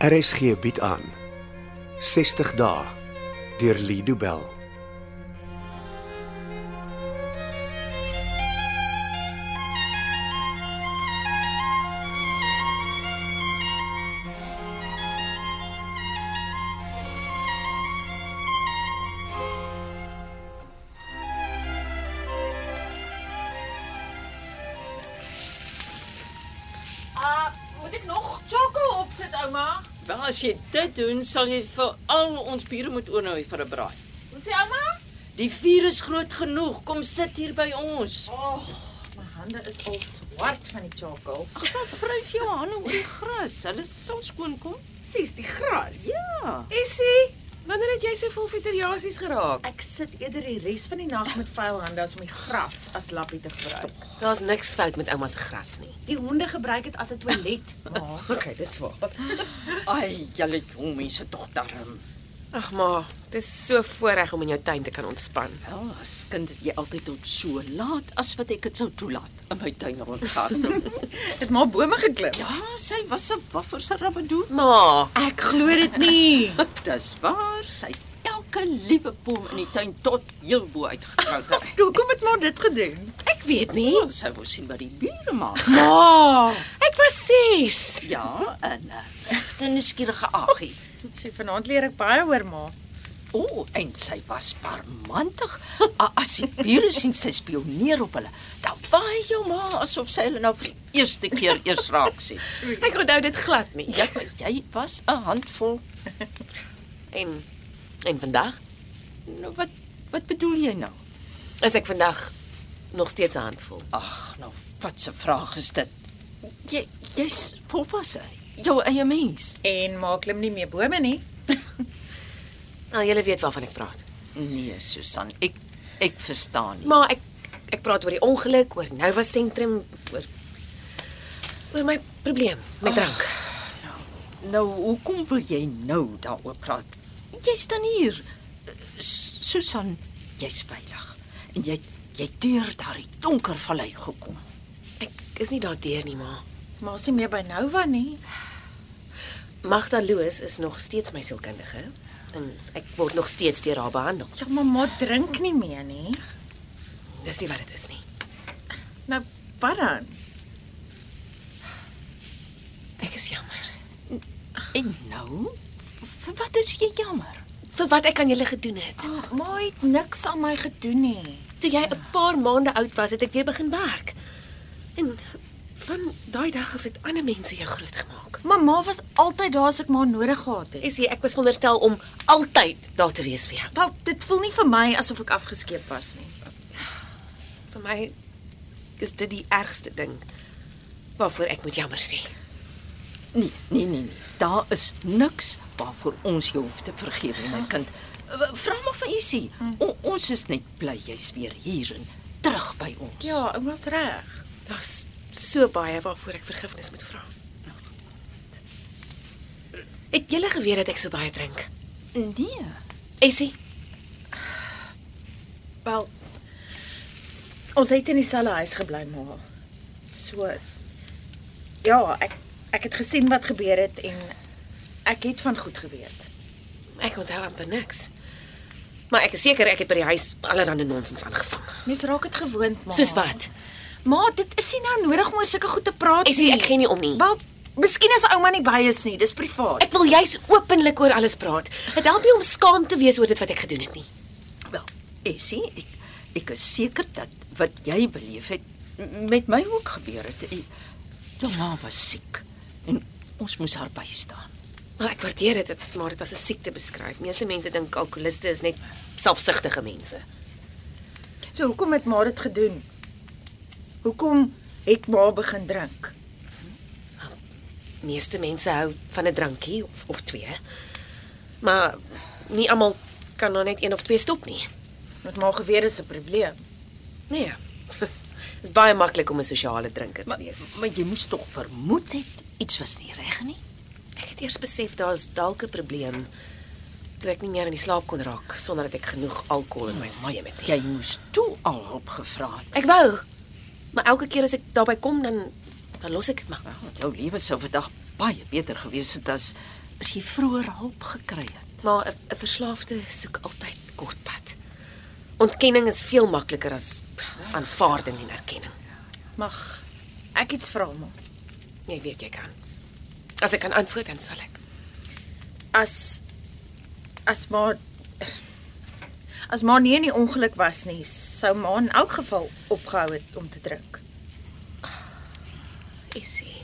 RSG bied aan 60 dae deur Lido Bell. Ah, moet ek nog choco opsit, ouma? Wel as jy dit doen, sal jy vir al ons bure moet oornooi vir 'n braai. Hoe sê ouma? Die vuur is groot genoeg. Kom sit hier by ons. Ag, my hande is al swart van die choco. Ag, maar vryf jou hande oor die gras. Hulle sal skoon kom. Sies die gras. Ja. Essie, wanneer het jy soveel vetteriasies geraak? Ek sit eerder die res van die nag met vuil hande as om die gras as lappie te gebruik. Daar's niks fout met ouma se gras nie. Die honde gebruik dit as 'n toilet. Ma, Okay, dis waar. Ai, julle jong mense tog darm. Ag ma, dis so voorreg om in jou tuin te kan ontspan. Wel, as kind het jy altyd tot so laat as wat ek dit sou toelaat in my tuin rondgaan. dit maak bome geklim. ja, sy was 'n waffer se rabbedoe. Ma, Ek glo dit nie. Dis waar. Sy het elke liewe boom in die tuin tot heel bo uitgekrou. Hoekom het maar dit gedoen? ek weet nie. Ons sou wou sien wat die bure maak. Ma, Ek was 6. Ja, 'n regte nuuskierige agie. sy vanaand leer ek baie oor ma. O, oh, en sy was parmantig. A- As die bure sien sy spioneer op hulle, dan waai jou ma asof sy hulle nou vir die eerste keer eers raak sien. Ek onthou dit glad nie. Ja, jy was 'n handvol. En en vandag Nou wat wat bedoel jy nou? is ek vandag nog steeds 'n handvol. Ag, nou wat 'n vraag is dit? Jy jy's volwasse. Jou eie mens. En ma klim nie meer bome nie. Nou julle weet waarvan ek praat. Nee, Susan, ek ek verstaan nie. Ma, ek ek praat oor die ongeluk, oor Nova sentrum, oor oor my probleem met drank. Nou, hoekom wil jy nou daaroor praat? Jy's dan hier. S Susan, jy's veilig. En jy jy het deur daardie donker vallei gekom. Ek is nie daardeur nie, ma. Ma is nie meer by Nova nie. Magda Loos is nog steeds my sielkundige en ek word nog steeds deur haar behandel. Ja, maar ma drink nie meer nie. Dis nie wat dit is nie. Nou, wat dan? Ek is jammer En nou, vir wat is jy jammer? vir wat ek aan julle gedoen het. Oh, ma het niks aan my gedoen nie. Toe jy 'n paar maande oud was, het ek weer begin werk. En van daai dag af het ander mense jou grootgemaak. Mamma was altyd daar as ek maar nodig gehad het. Is jy ek was veronderstel om altyd daar te wees vir jou. Wel, dit voel nie vir my asof ek afgeskeep was nie. Vir my is dit die ergste ding waarvoor ek moet jammer sê. Nee, nee, nee, nee. Daar is niks waarvoor ons jou hoef te vergewe, my kind. W- Vra maar vir Isie. O- Ons is net bly jy's weer hier en terug by ons. Ja, ek was reg. Daar's so baie waarvoor ek vergifnis moet vra. Het julle geweet dat ek so baie drink? nee. Essie, Wel, ons het in dieselfde huis gebly maar. So ja, ek ek het gesien wat gebeur het en ek het van goed geweet. ek onthou amper niks. Maar ek is seker ek het by die huis allerlei nonsens aangevang. Mens raak dit gewoond, ma. Soos wat? Ma, dit is nie nou nodig om oor sulke goed te praat Essie, nie. ek gee nie om nie. Wel, miskien as ouma nie by is nie, dis privaat. Ek wil juis openlik oor alles praat. Dit help nie om skaam te wees oor dit wat ek gedoen het nie. Wel, Essie, ek ek is seker dat wat jy beleef het m- met my ook gebeur het. Ek- Jou ma was siek en ons moes haar bystaan. Maar ek waardeer dit, dit- maar dit as 'n siekte beskryf. Meeste mense dink alkoholiste is net selfsugtige mense. So hoekom het ma dit gedoen? Hoekom het ma begin drink? Meeste mense hou van 'n drankie of of twee. Maar nie almal kan nou net een of twee stop nie. Want ma geweet dis 'n probleem. Nee. Dit is baie maklik om 'n sosiale drinker te Maar, wees. maar jy moes tog vermoed het iets was nie reg nie. Ek het eers besef daar's dalk 'n probleem toe ek nie meer in die slaap kon raak sonder dat ek genoeg alkohol Oh in my stelsel het nie. jy moes toe al hulp gevra het. Ek wou. Maar elke keer as ek daarby kom dan dan los ek dit maar. Wel, jou lewe sou vandag baie beter gewees het as as jy vroeër hulp gekry het. Maar 'n 'n verslaafde soek altyd kortpad. Ontkenning is veel makliker as aanvaarding en erkenning. Mag ek iets vra maar? Jy weet jy kan. As ek kan antwoord dan sal ek. As as maar as maar nie in die ongeluk was nie, sou maar in elk geval opgehou het om te drink. Isie.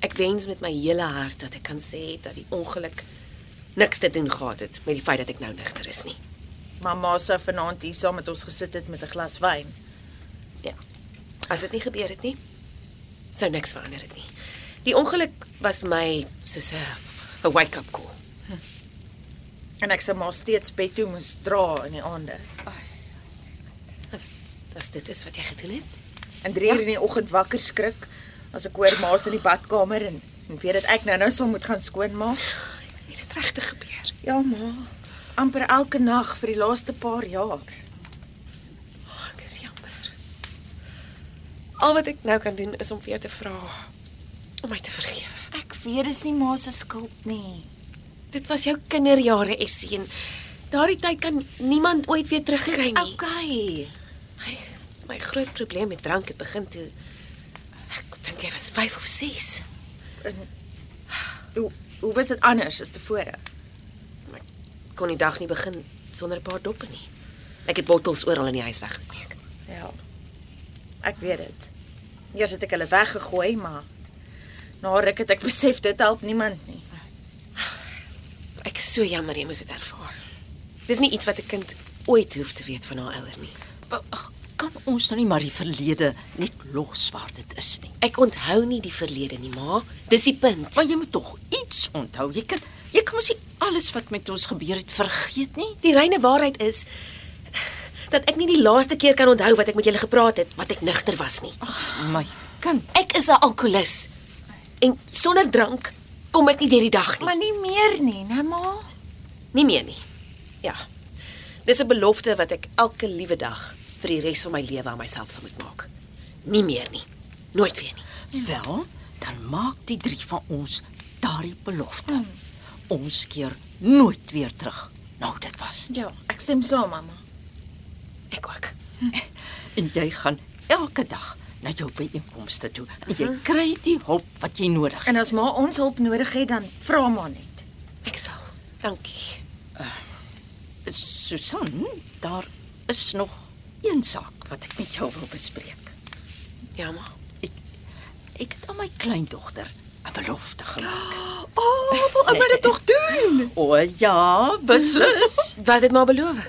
Ek wens met my hele hart dat ek kan sê dat die ongeluk niks te doen gehad het met die feit dat ek nou nigter is nie. Mamma sou vanaand hier saam met ons gesit het met 'n glas wyn. Ja. As dit nie gebeur het nie, sou niks verander het nie. Die ongeluk was vir my soos 'n 'n wake-up call. En ek sou maar steeds bed toe moes dra in die aande. As as dit is wat jy gedoen het. En 3 uur in die oggend wakker skrik as ek hoor ma's in die badkamer en, en weet dat ek nou-nou sal moet gaan skoonmaak. Het dit regtig gebeur? Ja, ma. amper elke nag vir die laaste paar jaar. Oh, ek is jammer. Al wat ek nou kan doen is om vir jou te vra om my te vergewe. Ek weet dis nie ma se skuld nie. Dit was jou kinderjare, Essie, en daardie tyd kan niemand ooit weer terugkry nie. okay. My, my groot probleem met drank het begin toe ek dink jy was 5 of 6. Hoe hoe was dit anders as tevore? Kon die dag nie begin sonder 'n paar doppe nie. Ek het bottels oral in die huis weggesteek. Ja. Ek weet dit. Eers het ek hulle weggegooi, maar na ruk het ek besef dit help niemand nie. Ek is so jammer jy moes dit ervaar. Dis nie iets wat 'n kind ooit hoef te weet van haar ouer nie. Wa- ag, Kan ons nou nie maar die verlede net los waar dit is nie? Ek onthou nie die verlede nie, ma. Dis die punt. Maar jy moet tog iets onthou. Jy kan jy kan mos nie alles wat met ons gebeur het vergeet nie. Die reine waarheid is dat ek nie die laaste keer kan onthou wat ek met julle gepraat het wat ek nigter was nie. Ag, my kind. Ek is 'n alkolikus. En sonder drank kom ek nie deur die dag nie. nie meer nie, né ma? Nie meer nie. Ja. Dis 'n belofte wat ek elke liewe dag vir die res van my lewe aan myself sal moet maak. Nie meer nie. Nooit weer nie. Wel, dan maak die drie van ons daardie belofte. Ons keer nooit weer terug. Nou dit was. nie. Ja, ek stem saam, mamma. Ek ook. En jy gaan elke dag na jou byeenkomste toe. En jy kry die hulp wat jy nodig het. En as ma ons hulp nodig het, dan vra maar net. Ek sal. Dankie. Susan, daar is nog een saak wat ek met jou wil bespreek. Ja, ma. Ek het aan my kleindogter 'n belofte gemaak. O, oh, wil ouma dit tog doen? O ja, beslis. Wat het ma beloof?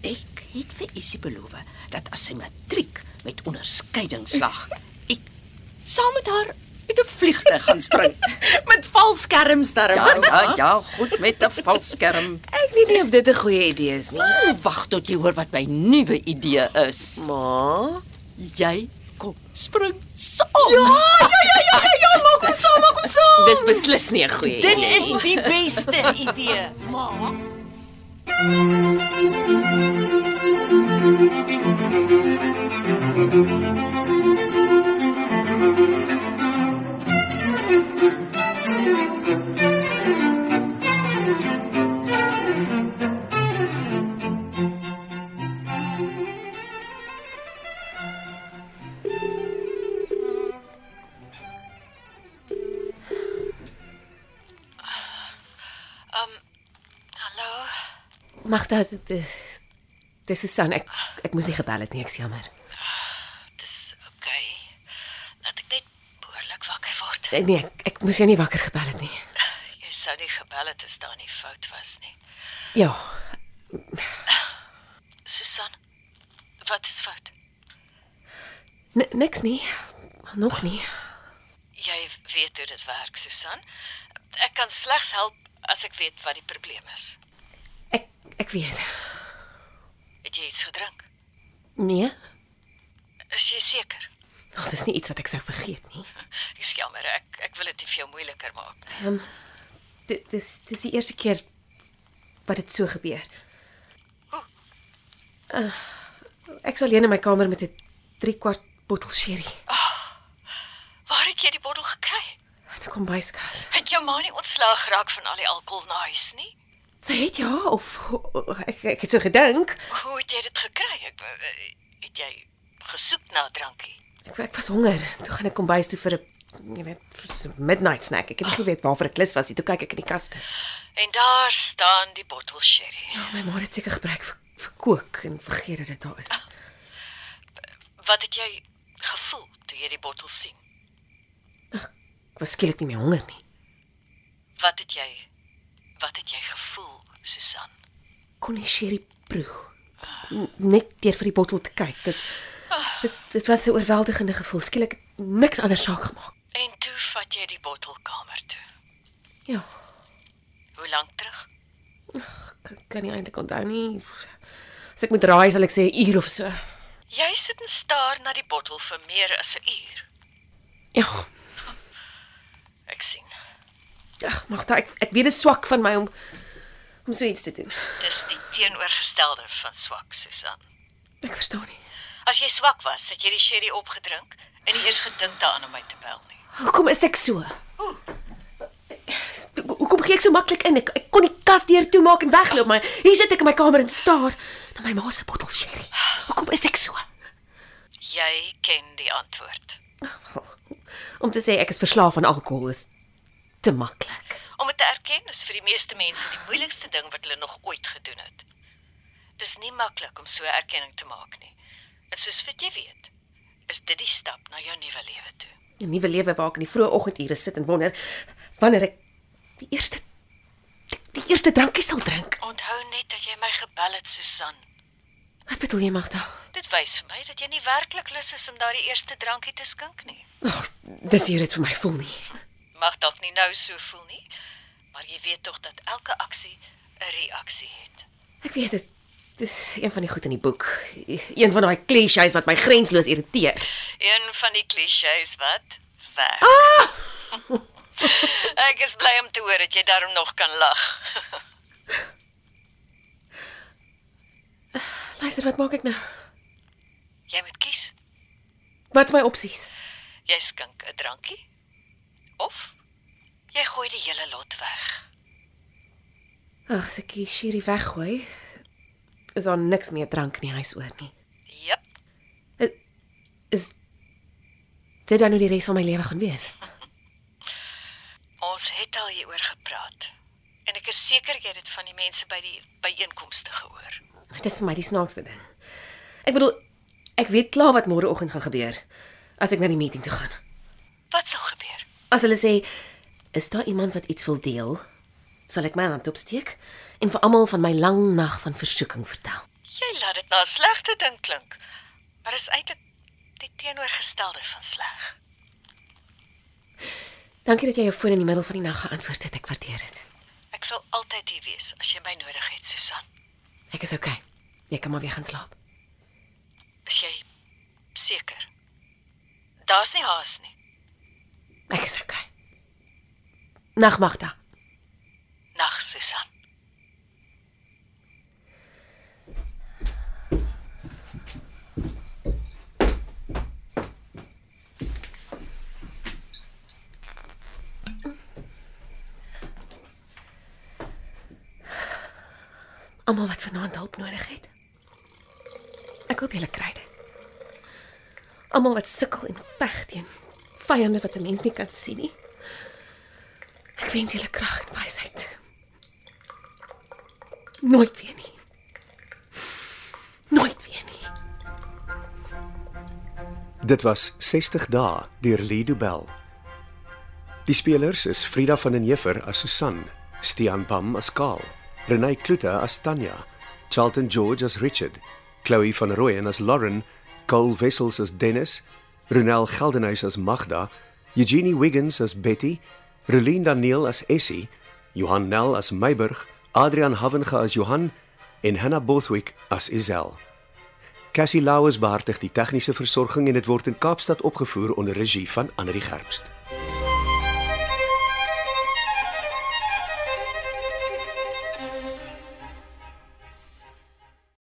Ek het vir Isie beloof dat as sy matriek met onderskeiding slaag, ek saam met haar uit 'n vliegtuig gaan spring. Met valskerms Ja, daarom. ja, ja, goed met 'n valskerm. Ek weet nie of dit 'n goeie idee is nie. Wag tot jy hoor wat my nuwe idee is. Ma, Jy kom spring saam. Ja, Kom saam, maar kom saam. dis beslis nie 'n goeie idee. nie. is die beste idee. Hallo. Magda, dit is dis Susan. Ek ek moes nie gebel het nie, ek's jammer. Dis okay. Laat ek net behoorlik wakker word. Eh, Nee, ek, ek moes jou nie wakker gebel het nie. Jy sou nie gebel het as daar nie fout was nie. Ja, Susan, wat is fout? n- niks nie. Nog nie. Jy weet hoe dit werk, Susan. Ek kan slegs help as ek weet wat die probleem is. Ek ek weet. Het jy iets gedrink? Nee. Is jy seker? Ag, dis nie iets wat ek sou vergeet nie. Ek is jammer, ek ek wil dit nie vir jou moeiliker maak nie. Dit dis dis die eerste keer wat dit so gebeur. Hoe? Uh, ek sal leen in my kamer met 'n 3 kwart bottel sherry. Waar het jy die bottel gekry? En Ek kom by skas. Het jou ma nie ontslaag geraak van al die alkohol na huis nie? Sy het ja of ek, ek het so gedink. Hoe het jy dit gekry? Ek eh, het jy gesoek na 'n drankie. Ek, ek was honger. Toe gaan ek kom bys toe vir 'n jy weet vir so 'n midnight snack. Ek het nie geweet waarvoor ek lus was nie. Toe kyk ek in die kaste. En daar staan die bottel sherry. Ja, my ma het dit seker gebruik vir vir kook en vergeet dat dit daar is. Wat het jy gevoel toe jy die bottel sien? Ek was skielik nie meer honger nie. Wat het jy wat het jy gevoel, Susan? Kon nie sherry proe. N- Net deur vir die bottel te kyk. Dit dit, dit was 'n oorweldigende gevoel. Skielik het niks anders saak gemaak. En toe vat jy die bottel kamer toe. Ja, Hoe lank terug? ek kan nie eintlik onthou nie. As ek moet raai, sal ek sê 'n uur of so. Jy sit en staar na die bottel vir meer as 'n uur. Ja, Ek sien. Ag, Magda, ek ek weet dit is swak van my om om so iets te doen. Dis die teenoorgestelde van swak, Susan. Ek verstaan nie. As jy swak was, het jy die sherry opgedrink en nie eers gedink daaraan om my te bel nie. Hoekom is ek so? Hoekom gee ek so maklik in? Ek, ek kon die kas deur toemaak en wegloop, maar hier sit ek in my kamer en staar na my ma se bottel sherry. Hoekom is ek so? Jy ken die antwoord. Om te sê ek is verslaaf aan alkohol is te maklik. Om dit te erken is vir die meeste mense die moeilikste ding wat hulle nog ooit gedoen het. Dis nie maklik om so 'n erkenning te maak nie. En soos wat jy weet, is dit die stap na jou nuwe lewe toe. 'n Nuwe lewe waar ek in die vroeë oggendure sit en wonder wanneer ek die eerste die eerste drankie sal drink. Onthou net dat jy my gebel het, Susan. Wat bedoel jy, Magda? Dit wys vir my dat jy nie werklik lus is om daardie eerste drankie te skink nie. Ag, dis hier dit vir my voel nie. Mag dalk nie nou so voel nie, maar jy weet tog dat elke aksie 'n reaksie het. Ek weet dit dis een van die goed in die boek. Een van daai klisjées wat my grensloos irriteer. Een van die klisjées wat weg. Ek is bly om te hoor dat jy daarom nog kan lag. Luister, wat maak ek nou? Jy moet kies. Wat is my opsies? Jy skink 'n drankie of jy gooi die hele lot weg. Ag, as ek die sherry weggooi, is daar niks meer drank in die huis oor nie. Jep, Is dit dan hoe die res van my lewe gaan wees? ons het al hieroor gepraat. En ek is seker jy het dit van die mense by die byeenkomste gehoor. Dit is vir my die snaakste ding. Ek bedoel, ek weet klaar wat môreoggend gaan gebeur as ek na die meeting toe gaan. Wat sal gebeur? As hulle sê, "Is daar iemand wat iets wil deel?" sal ek my hand opsteek en vir almal van my lang nag van versoeking vertel. Jy laat dit na 'n slegte ding klink, maar is eintlik die teenoorgestelde van sleg. Dankie dat jy jou foon in die middel van die nag geantwoord het. Ek waardeer dit. Ek sal altyd hier wees as jy my nodig het, Susan. Ek is oukei. Okay. Jy kan maar weer gaan slaap. Is jy seker? Daar's nie haas nie. Ek is okay. Nag Magda. Nag, Susan. Almal wat vanaand hulp nodig het. Ek hoop julle kry dit. Almal wat sukkel en veg teen vyande wat 'n mens nie kan sien nie. Ek wens julle krag en wysheid. Nooit weer nie. Nooit weer nie. Dit was 60 dae deur Lido Bell. Die spelers is Frida van den Heever as Susan, Stean Pam as Karl, Renai Klute as Tanya, Charlton George as Richard, Chloe van Rooyen as Lauren, Cole Wessels as Dennis, Ronel Geldenhuys as Magda, Eugenie Wiggins as Betty, Relien Daniel as Essie, Johan Nel as Meiburg, Adrian Havenga as Johan en Hannah Bothwick as Isel. Cassie Lauers behartig die tegniese versorging en dit word in Kaapstad opgevoer onder regie van Anri Gerbst.